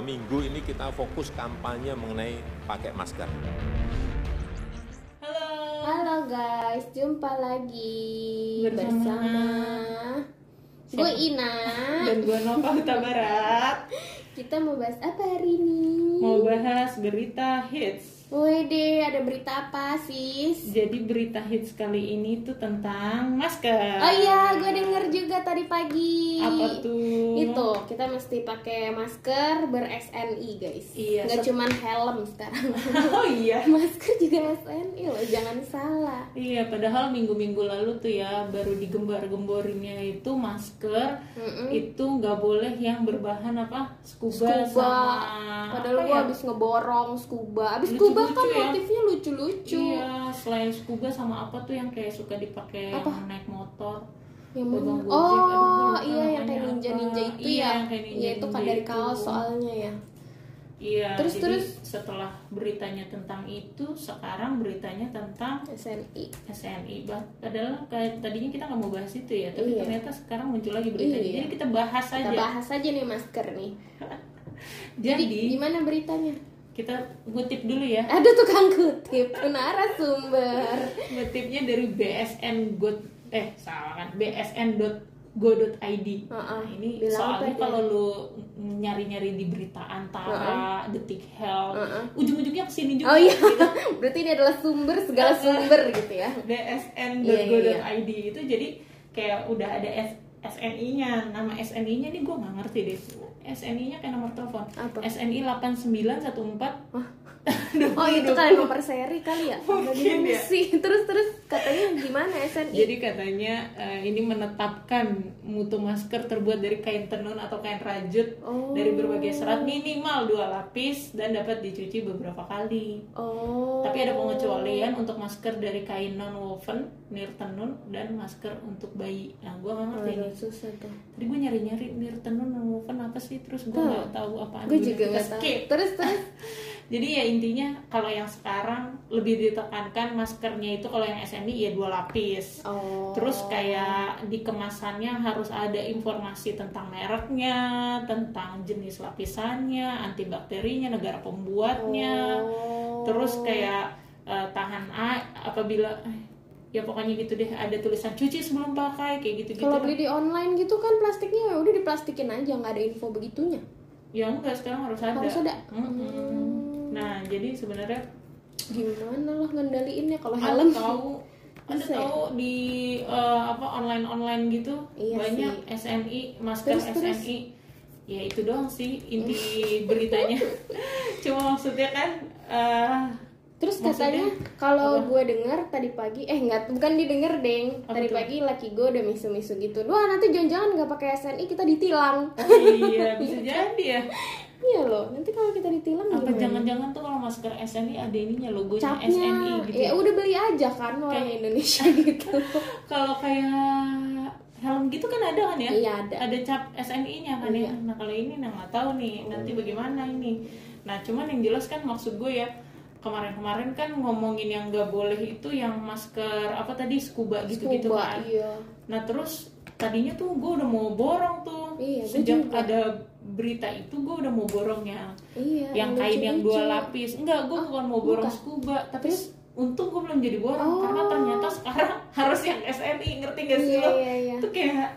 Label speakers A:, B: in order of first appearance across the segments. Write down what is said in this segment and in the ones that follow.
A: minggu ini kita fokus kampanye mengenai pakai masker.
B: Halo guys, jumpa lagi
C: Bersama.
B: bersama, gue Ina.
C: dan gue Nova Huta Barat
B: Kita mau bahas apa hari ini?
C: mau bahas berita hits.
B: Wede, ada berita apa sis?
C: Jadi berita hits kali ini tuh tentang masker.
B: Oh iya, gue denger juga tadi pagi.
C: Apa tuh?
B: Itu kita mesti pakai masker ber SNI guys.
C: Iya,
B: Gak
C: se-
B: cuman helm sekarang.
C: oh iya.
B: masker juga SNI loh, jangan salah.
C: Iya, padahal minggu-minggu lalu tuh ya baru digembar-gemborinnya itu masker
B: Mm-mm.
C: itu nggak boleh yang berbahan apa scuba,
B: Scuba.
C: sama
B: Padahal
C: apa
B: gue
C: ya?
B: abis ngeborong scuba. Abis
C: Lucu-lucu
B: scuba kan
C: ya.
B: motifnya lucu-lucu.
C: Iya, selain scuba sama apa tuh yang kayak suka dipakai
B: Apa?
C: yang naik motor.
B: Yang
C: Gua
B: mana?
C: bang Gojek, aduh, gua
B: Oh
C: lupa
B: iya yang kayak
C: namanya
B: ninja ninja
C: apa.
B: itu
C: Iya,
B: ya.
C: yang kayak
B: Iya itu kan
C: ninja-ninja
B: dari
C: itu.
B: kaos soalnya ya.
C: Iya.
B: Terus,
C: jadi
B: terus?
C: setelah beritanya tentang itu, sekarang beritanya tentang
B: SNI.
C: SNI. Bah- Padahal kayak tadinya kita nggak mau bahas itu ya, tapi
B: Iya.
C: ternyata sekarang muncul lagi beritanya.
B: Iya.
C: Jadi kita bahas
B: Kita
C: aja.
B: bahas aja nih masker nih. Jadi
C: Jadi
B: gimana beritanya?
C: kita ngutip dulu ya.
B: Ada tukang kutip, narasumber.
C: Ngutipnya dari BSN God eh salah kan bsn.go.id.
B: Heeh,
C: Nah, ini
B: bilang apa
C: soalnya
B: dia?
C: kalau lu nyari-nyari di berita antara, detik health, ujung-ujungnya kesini juga.
B: Oh iya,
C: gitu.
B: berarti ini adalah sumber segala
C: Iya.
B: sumber gitu ya.
C: bsn.go.id
B: Iya,
C: itu jadi kayak udah ada SNI-nya nama SNI-nya nih gue nggak ngerti deh SNI-nya kayak nomor telepon
B: Apa?
C: SNI 8914
B: Oh itu kalian memperseri kali ya?
C: Mungkin
B: Bagaimana
C: ya.
B: sih? Terus terus katanya gimana SNI?
C: jadi katanya eh, ini menetapkan mutu masker terbuat dari kain tenun atau kain rajut
B: Oh.
C: dari berbagai serat minimal dua lapis dan dapat dicuci beberapa kali
B: Oh.
C: Tapi ada pengecualian untuk masker dari kain non woven, nir tenun, dan masker untuk bayi. Nah, gue gak ngerti
B: Aduh,
C: nih.
B: susah tuh.
C: Tadi gue nyari-nyari nir tenun non woven apa sih, terus gue
B: Tahu.
C: nggak tahu apa.
B: Gue juga nggak tahu. Terus terus.
C: Jadi ya intinya kalau yang sekarang lebih ditekankan maskernya itu kalau yang SMI ya dua lapis.
B: Oh.
C: Terus kayak di kemasannya harus ada informasi tentang mereknya, tentang jenis lapisannya, antibakterinya, negara pembuatnya.
B: Oh.
C: terus kayak eh, tahan air apabila eh, ya pokoknya gitu deh ada tulisan cuci sebelum pakai kayak gitu gitu
B: Kalau beli di online gitu kan plastiknya ya udah diplastikin aja nggak ada info begitunya.
C: ya enggak sekarang harus ada
B: Harus ada. Hmm.
C: Mm-mm. nah jadi sebenarnya
B: Gimana lah ngendaliinnya kalau helm?
C: ada tahu ada
B: Bisa ya?
C: tahu di eh, apa online online gitu
B: Iya
C: banyak SNI masker
B: Terus, terus.
C: SNI ya itu doang sih inti beritanya cuma maksudnya kan eh,
B: Terus
C: Maksudnya,
B: katanya kalau gue dengar tadi pagi eh nggak bukan didengar deng
C: Apa
B: tadi
C: tuh?
B: pagi laki gue udah misu-misu gitu. Wah nanti jangan-jangan nggak pakai SNI kita ditilang.
C: iya bisa jadi ya
B: iya loh nanti kalau kita ditilang
C: apa
B: gimana?
C: jangan-jangan tuh kalau masker SNI ada ininya logonya
B: Iya. Capnya
C: SNI gitu
B: ya udah beli aja kan orang
C: Kayak-
B: Indonesia gitu.
C: kalau kayak helm gitu kan ada kan ya
B: Iya, ada.
C: cap SNI nya kan
B: Iya.
C: ya nah kalau ini nah nggak tahu
B: Oh,
C: nih nanti bagaimana ini nah cuman yang jelas kan maksud gue ya kemarin-kemarin kan ngomongin yang nggak boleh itu yang masker apa tadi scuba gitu gitu
B: Scuba,
C: kan
B: iya.
C: nah terus tadinya tuh gue udah mau borong tuh
B: Iya, gue
C: sejak
B: juga.
C: ada berita itu gue udah mau borong yang
B: Iya.
C: yang kain yang dua
B: lucu-lucu.
C: lapis enggak gue bukan mau borong
B: bukan.
C: scuba tapi
B: Terus?
C: untung gue belum jadi borong
B: Oh.
C: karena ternyata sekarang harus yang SNI ngerti gak sih
B: Iya,
C: lo
B: iya, iya.
C: itu kayak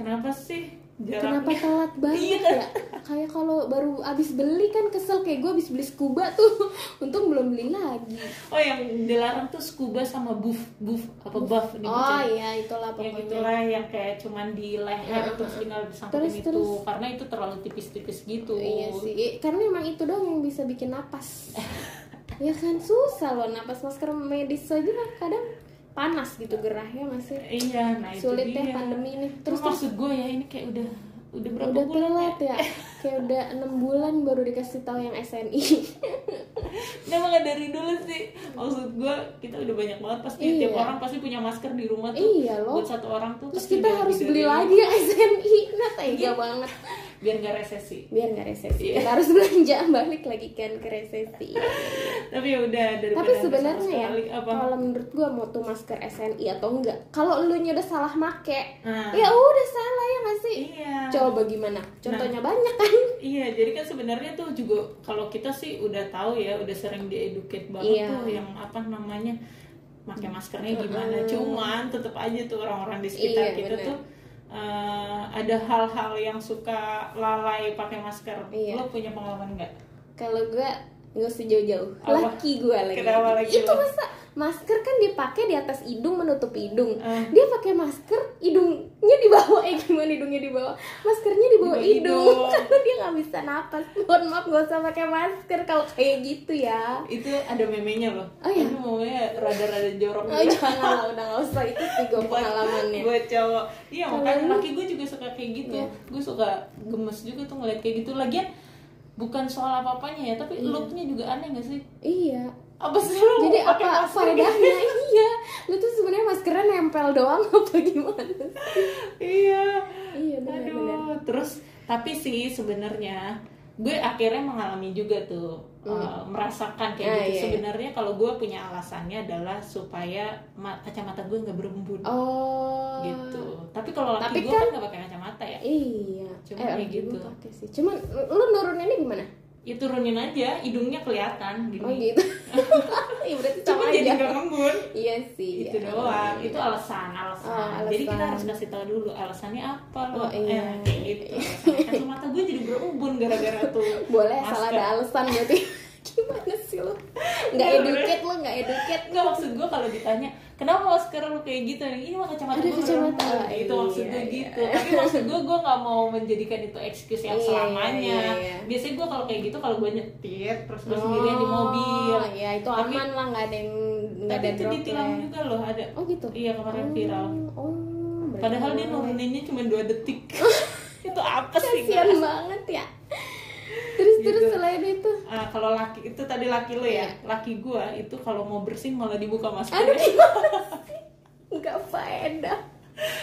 C: kenapa sih
B: Kenapa
C: jaraknya
B: telat
C: Iya
B: banget
C: kan?
B: ya? Kayak kalau baru abis beli kan kesel kayak gue abis beli scuba tuh, untung belum beli lagi.
C: oh yang dilarang tuh scuba sama buff buff apa buff nih
B: Oh iya itulah
C: yang
B: pokoknya.
C: itulah yang kayak cuman di leher terus tinggal disangkutin
B: Terus,
C: itu
B: terus.
C: karena itu terlalu tipis-tipis gitu
B: Iya sih, Eh, karena emang itu doang yang bisa bikin napas. ya kan susah loh napas masker medis aja kan kadang panas gitu gerahnya masih
C: Iya, nah itu
B: sulit
C: dia
B: deh pandemi ini.
C: terus
B: Terus terus
C: maksud gue ya ini kayak udah udah berapa
B: udah
C: bulan ya
B: telat ya, kayak udah enam bulan baru dikasih tahu yang SNI.
C: Nggak malah dari dulu sih Maksud gue kita udah banyak banget Pasti Ya,
B: Iya.
C: tiap orang pasti punya masker di rumah tuh
B: Iya loh.
C: Buat satu orang tuh
B: Terus
C: pasti
B: kita
C: udah
B: harus
C: lebih
B: beli
C: dari-
B: lagi ya SNI, nah tega banget.
C: biar nggak resesi
B: biar nggak resesi
C: Iya.
B: kita harus belanja balik lagi kan ke resesi
C: tapi ya udah daripada
B: tapi
C: ada
B: sebenarnya
C: sama
B: ya
C: sekali, apa
B: kalau menurut gua mau tuh masker SNI atau enggak kalau lu udah salah make
C: Nah.
B: ya udah salah ya nggak sih
C: iya Nah.
B: coba gimana contohnya banyak kan
C: iya jadi kan sebenarnya tuh juga kalau kita sih udah tahu ya udah sering dieduket banget
B: Iya.
C: tuh yang apa namanya pakai maskernya gimana cuman tetap aja tuh orang-orang di sekitar
B: Iya,
C: kita
B: bener.
C: tuh eh, ada hal-hal yang suka lalai pakai masker
B: Iya.
C: lo punya pengalaman nggak
B: kalau gua nggak usah jauh-jauh
C: Apa?
B: laki gua lagi
C: Kenapa laki
B: itu
C: lo?
B: masa masker kan dipakai di atas hidung menutupi hidung
C: Eh.
B: dia pakai masker hidungnya di bawah eh gimana hidungnya di bawah maskernya di bawah
C: Di bawah
B: hidung
C: hidung.
B: karena dia nggak bisa napas mohon maaf gak usah pakai masker kalau kayak gitu ya
C: itu ada memenya loh
B: Oh, iya?
C: Ini memenya rada-rada jorok
B: oh, jangan lah udah nggak usah itu tiga
C: Buat-
B: pengalamannya
C: buat cowok iya
B: Kalau
C: makanya
B: lu-
C: laki gue juga suka kayak gitu
B: Iya.
C: gue suka gemes juga tuh ngeliat kayak gitu lagian bukan soal apa apanya ya tapi looknya juga aneh gak sih
B: iya
C: apa sih lu
B: jadi
C: mau pakai
B: apa
C: masker gitu?
B: faedahnya iya lu tuh sebenarnya maskernya nempel doang apa gimana
C: iya
B: iya
C: aduh
B: benar-benar
C: terus tapi sih sebenarnya gue akhirnya mengalami juga tuh eh, merasakan kayak
B: Hmm. Ah,
C: gitu
B: iya, iya.
C: sebenarnya kalau gue punya alasannya adalah supaya ma- kacamata gue nggak berembun
B: oh
C: gitu tapi kalau laki
B: Tapi
C: gue kan nggak pakai kacamata ya
B: Iya.
C: Cuma kayak
B: lagi gua
C: gitu.
B: pakai sih. Cuman lu lu nuruninnya gimana?
C: ya turunin aja hidungnya kelihatan
B: Oh
C: gini
B: gitu. Iya berarti sama
C: cuma
B: aja.
C: jadi gak ngembun
B: Iya sih.
C: itu
B: ya.
C: Gitu doang itu alasan alasan.
B: Oh, alasan.
C: jadi kita harus kasih tahu dulu alasannya apa lo
B: Oh, iya.
C: eh, kayak gitu Alasannya kacamata gue jadi berubun gara-gara tuh
B: Boleh
C: masker.
B: salah ada alasan berarti. gimana sih lu? Nggak
C: Iya,
B: educate lu, nggak educate.
C: Enggak maksud gue kalau ditanya kenapa masker lu kayak gitu ini mah kacamata
B: Ada
C: gue
B: kacamata.
C: berembun itu
B: Iya,
C: maksud gue
B: iya.
C: gitu tapi maksud gue gue nggak mau menjadikan itu excuse yang
B: Iya, iya,
C: selamanya
B: iya, iya.
C: biasanya gue kalau kayak gitu kalau gue nyetir terus gue sendirian di mobil
B: Oh, Iya, itu
C: Tapi-
B: aman lah, nggak ada yang nggak
C: tapi
B: ada
C: itu ditilang
B: droplet.
C: juga loh ada
B: Oh gitu.
C: iya kemarin viral
B: Oh. oh, berarti
C: Padahal dia nuruninnya cuma dua detik. itu apa sih?
B: kasihan banget ya. Terus terus selain itu,
C: Ah, kalau laki itu tadi laki lo ya,
B: Iya.
C: laki gua itu kalau mau bersin malah dibuka
B: aduh
C: maskernya.
B: gimana sih? Nggak faedah.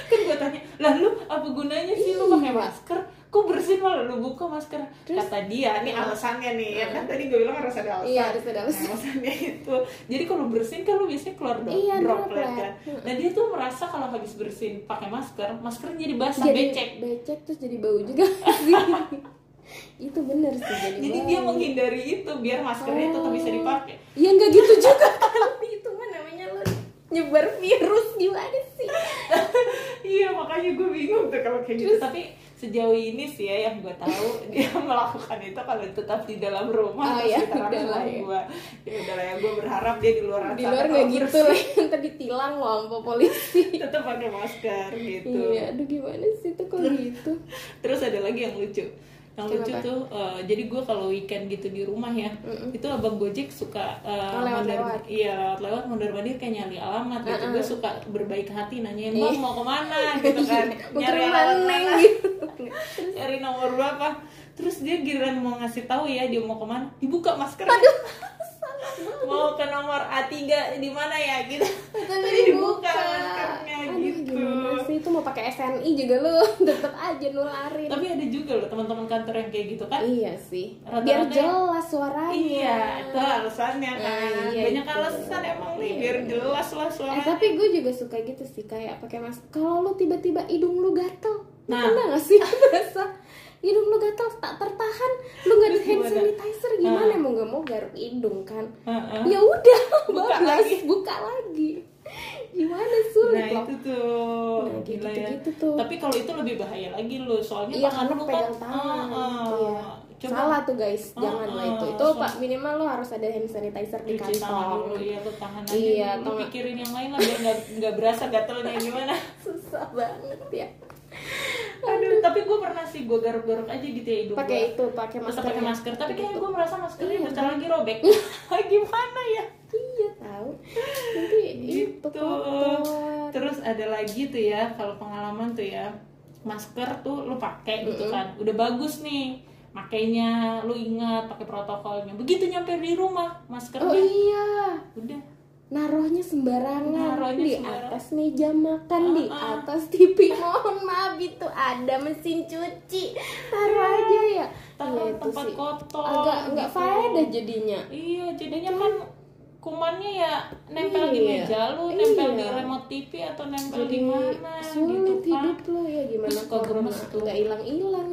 C: kan gua tanya, lah lu apa gunanya sih lu pakai
B: Iya.
C: masker? Kok bersin malah lu buka masker?
B: Terus? Nah.
C: Kata dia, ini alasannya nih, ya kan tadi gua bilang harus ada alasan.
B: Iya, harus ada alasan.
C: Nah, alasannya itu. Jadi kalau bersin kan lu biasanya keluar dong,
B: Iya,
C: droplet
B: droplet.
C: kan. Nah dia tuh merasa kalau habis bersin pakai masker, maskernya jadi basah, becek.
B: becek terus jadi bau juga sih itu bener sih jadi,
C: Jadi
B: bau.
C: dia menghindari itu biar maskernya tetap bisa dipakai.
B: ya nggak gitu juga kali itu mah namanya lo nyebar virus gimana sih
C: iya makanya gue bingung tuh kalau kayak gitu tapi sejauh ini sih ya yang gue tahu dia melakukan itu kalau tetap di dalam rumah
B: Oh,
C: atau
B: iya,
C: sekitaran
B: udah lah
C: rumah
B: ya.
C: gue ya udah lah ya gue berharap dia di luar
B: di
C: sana
B: luar
C: kalau
B: nggak gitu
C: bersih,
B: lah ntar ditilang lo sama polisi
C: tetap pakai masker gitu
B: iya aduh gimana sih itu kok gitu
C: terus ada lagi yang lucu yang lucu
B: Kenapa?
C: tuh eh, jadi gue kalau weekend gitu di rumah ya itu abang gojek suka eh,
B: Oh,
C: mondar-
B: lewat-lewat.
C: iya lewat-lewat mondar mandir kayak nyari alamat gitu gue suka berbaik hati nanyain
B: Iya.
C: bang mau kemana gitu kan
B: Mau ke
C: nyari
B: rumah
C: alamat
B: Neng,
C: mana.
B: Iya, gitu.
C: cari nomor berapa terus dia giliran mau ngasih tahu ya dia mau kemana dibuka masker mau ke nomor A3 di mana ya gitu
B: tapi
C: Jadi
B: dibuka
C: maskernya
B: aduh
C: gitu
B: gimana sih itu mau pakai SNI juga lo tetep aja nularin
C: tapi ada juga loh teman-teman kantor yang kayak gitu kan
B: iya sih
C: Rata-rata
B: biar
C: ya.
B: jelas suaranya
C: iya itu alasannya kan
B: Nah, iya
C: banyak
B: itu.
C: alasan emang nih
B: Iya.
C: biar jelas lah suara
B: Eh tapi gue juga suka gitu sih kayak pakai masker. Kalau lu tiba-tiba hidung lu gatel, lu
C: Nah.
B: pernah gak sih merasa hidung lu gatel tak tertahan, lu gak ada
C: Terus
B: hand
C: gimana? Nah.
B: sanitizer gimana mau gak mau garuk hidung kan?
C: Heeh.
B: Ya udah,
C: Buka
B: bablas,
C: lagi.
B: buka lagi. Gimana sulit
C: nah
B: loh.
C: itu tuh
B: Nah, kayak
C: gila ya.
B: gitu-gitu tuh.
C: tapi kalau itu lebih bahaya lagi loh soalnya
B: Iya
C: tangan
B: karena
C: lu kan
B: pegang tangan.
C: ah, ah.
B: Iya.
C: Coba
B: Salah tuh guys,
C: Ah,
B: jangan lah
C: ah,
B: itu. Itu
C: so-
B: Pak minimal lo harus ada hand sanitizer di
C: cuci tangan dulu
B: kantong.
C: iya lu tahan aja
B: Iya,
C: dulu, lu
B: tangan.
C: pikirin yang lain lah biar nggak nggak berasa gatelnya gimana
B: Susah banget ya.
C: aduh tapi gue pernah sih gue garuk-garuk aja gitu ya hidung
B: Pakai itu, pakai
C: tetap
B: masker. ya.
C: pakai masker tapi kayaknya gue merasa maskernya
B: Iya.
C: bentar lagi robek gimana ya
B: Iya tahu. Nanti itu
C: gitu
B: kotor.
C: terus ada lagi tuh ya kalau pengalaman tuh ya masker tuh lu pakai gitu kan udah bagus nih makainya lu ingat pakai protokolnya begitu nyampe di rumah
B: Oh
C: maskernya
B: iya,
C: udah
B: naruhnya sembarangan
C: Naruhnya
B: di
C: sembarangan.
B: atas meja makan di
C: Uh-uh.
B: atas TV mohon maaf itu ada mesin cuci taruh aja ya
C: Tempat-
B: Iya, itu
C: Iya. tempat
B: sih.
C: kotor
B: agak nggak
C: gitu.
B: faedah jadinya
C: Iya, jadinya kan kumannya ya nempel di
B: Iya.
C: meja lu, nempel
B: Iya.
C: di remote TV atau nempel
B: jadi
C: di mana
B: Iya, sulit
C: gitu kan.
B: hidup lo ya gimana
C: Terus kok
B: corona
C: gemes tuh.
B: nggak hilang hilang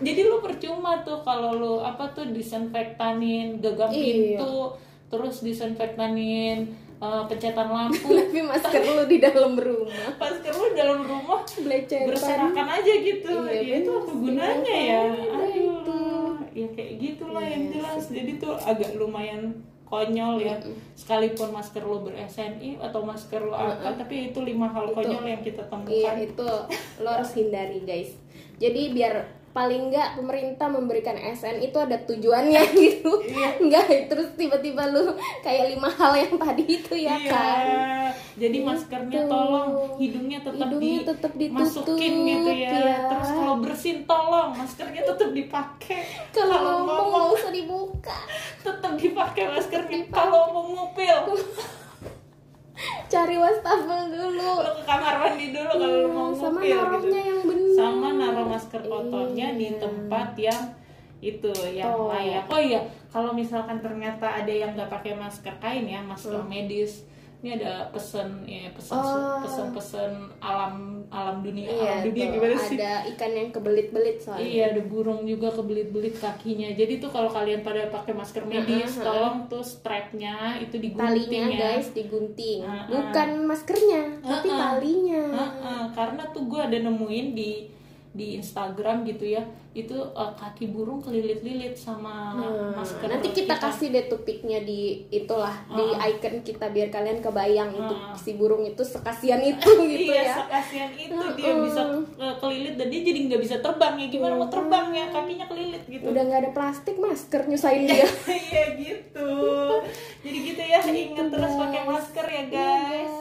C: Jadi lu percuma tuh kalau lu apa tuh disinfektanin gagang
B: Iya.
C: pintu, terus disinfektanin eh, pencetan lampu.
B: tapi masker lo di dalam rumah
C: Pas ke lu dalam rumah
B: belecetan
C: berserakan aja gitu.
B: Iya,
C: Ya, itu
B: bener
C: apa
B: sih.
C: gunanya ya?
B: Apa
C: Aduh.
B: itu?
C: Ya kayak gitu lah yang
B: Iya
C: jelas. Jadi tuh agak lumayan konyol ya. Sekalipun masker lu ber SNI atau masker lu apa, tapi itu lima hal konyol yang kita
B: iya
C: temukan.
B: itu lo harus hindari guys jadi biar paling nggak pemerintah memberikan SN itu ada tujuannya gitu
C: Iya.
B: nggak terus tiba-tiba lu kayak lima hal yang tadi itu ya kan
C: Iya. Jadi maskernya
B: Gitu.
C: tolong hidungnya tetap
B: Hidungnya
C: di
B: tetap ditutup,
C: masukin gitu ya.
B: ya.
C: Terus kalau bersin tolong maskernya tetap dipakai.
B: kalau ngomong nggak usah dibuka
C: tetap dipakai maskernya. Kalau mau ngupil
B: cari wastafel dulu
C: lu ke kamar mandi dulu kalau lu mau
B: Iya, sama
C: ngupil gitu.
B: naruhnya yang benar
C: Sama naruh masker kotornya di tempat yang itu yang
B: Iya. Betul.
C: layak. Oh iya, kalau misalkan ternyata ada yang nggak pakai masker kain ya, masker medis. Ini ada pesen ya, pesen
B: Oh.
C: pesen-pesen alam alam dunia,
B: iya
C: alam dunia
B: tuh,
C: gimana sih?
B: ada ikan yang kebelit-belit soalnya
C: Iya, ada burung juga kebelit-belit kakinya. Jadi tuh kalau kalian pada pakai masker medis, tolong tuh strapnya itu digunting
B: talinya
C: ya.
B: guys digunting
C: Ah, ah.
B: bukan maskernya tapi
C: Ah, ah.
B: talinya
C: Heeh, karena tuh gue ada nemuin di di Instagram gitu ya itu eh, kaki burung kelilit-lilit sama
B: Nah,
C: masker
B: nanti kita, kasih deh topiknya di itulah di
C: Ah.
B: icon kita biar kalian kebayang itu si burung itu sekasian itu gitu
C: iya,
B: ya
C: sekasian itu dia bisa eh, kelilit dan dia jadi nggak bisa terbang ya gimana mau terbang ya kakinya kelilit gitu
B: udah nggak ada plastik masker nyusahin dia Gitu
C: iya gitu jadi gitu ya ingat terus pakai masker ya guys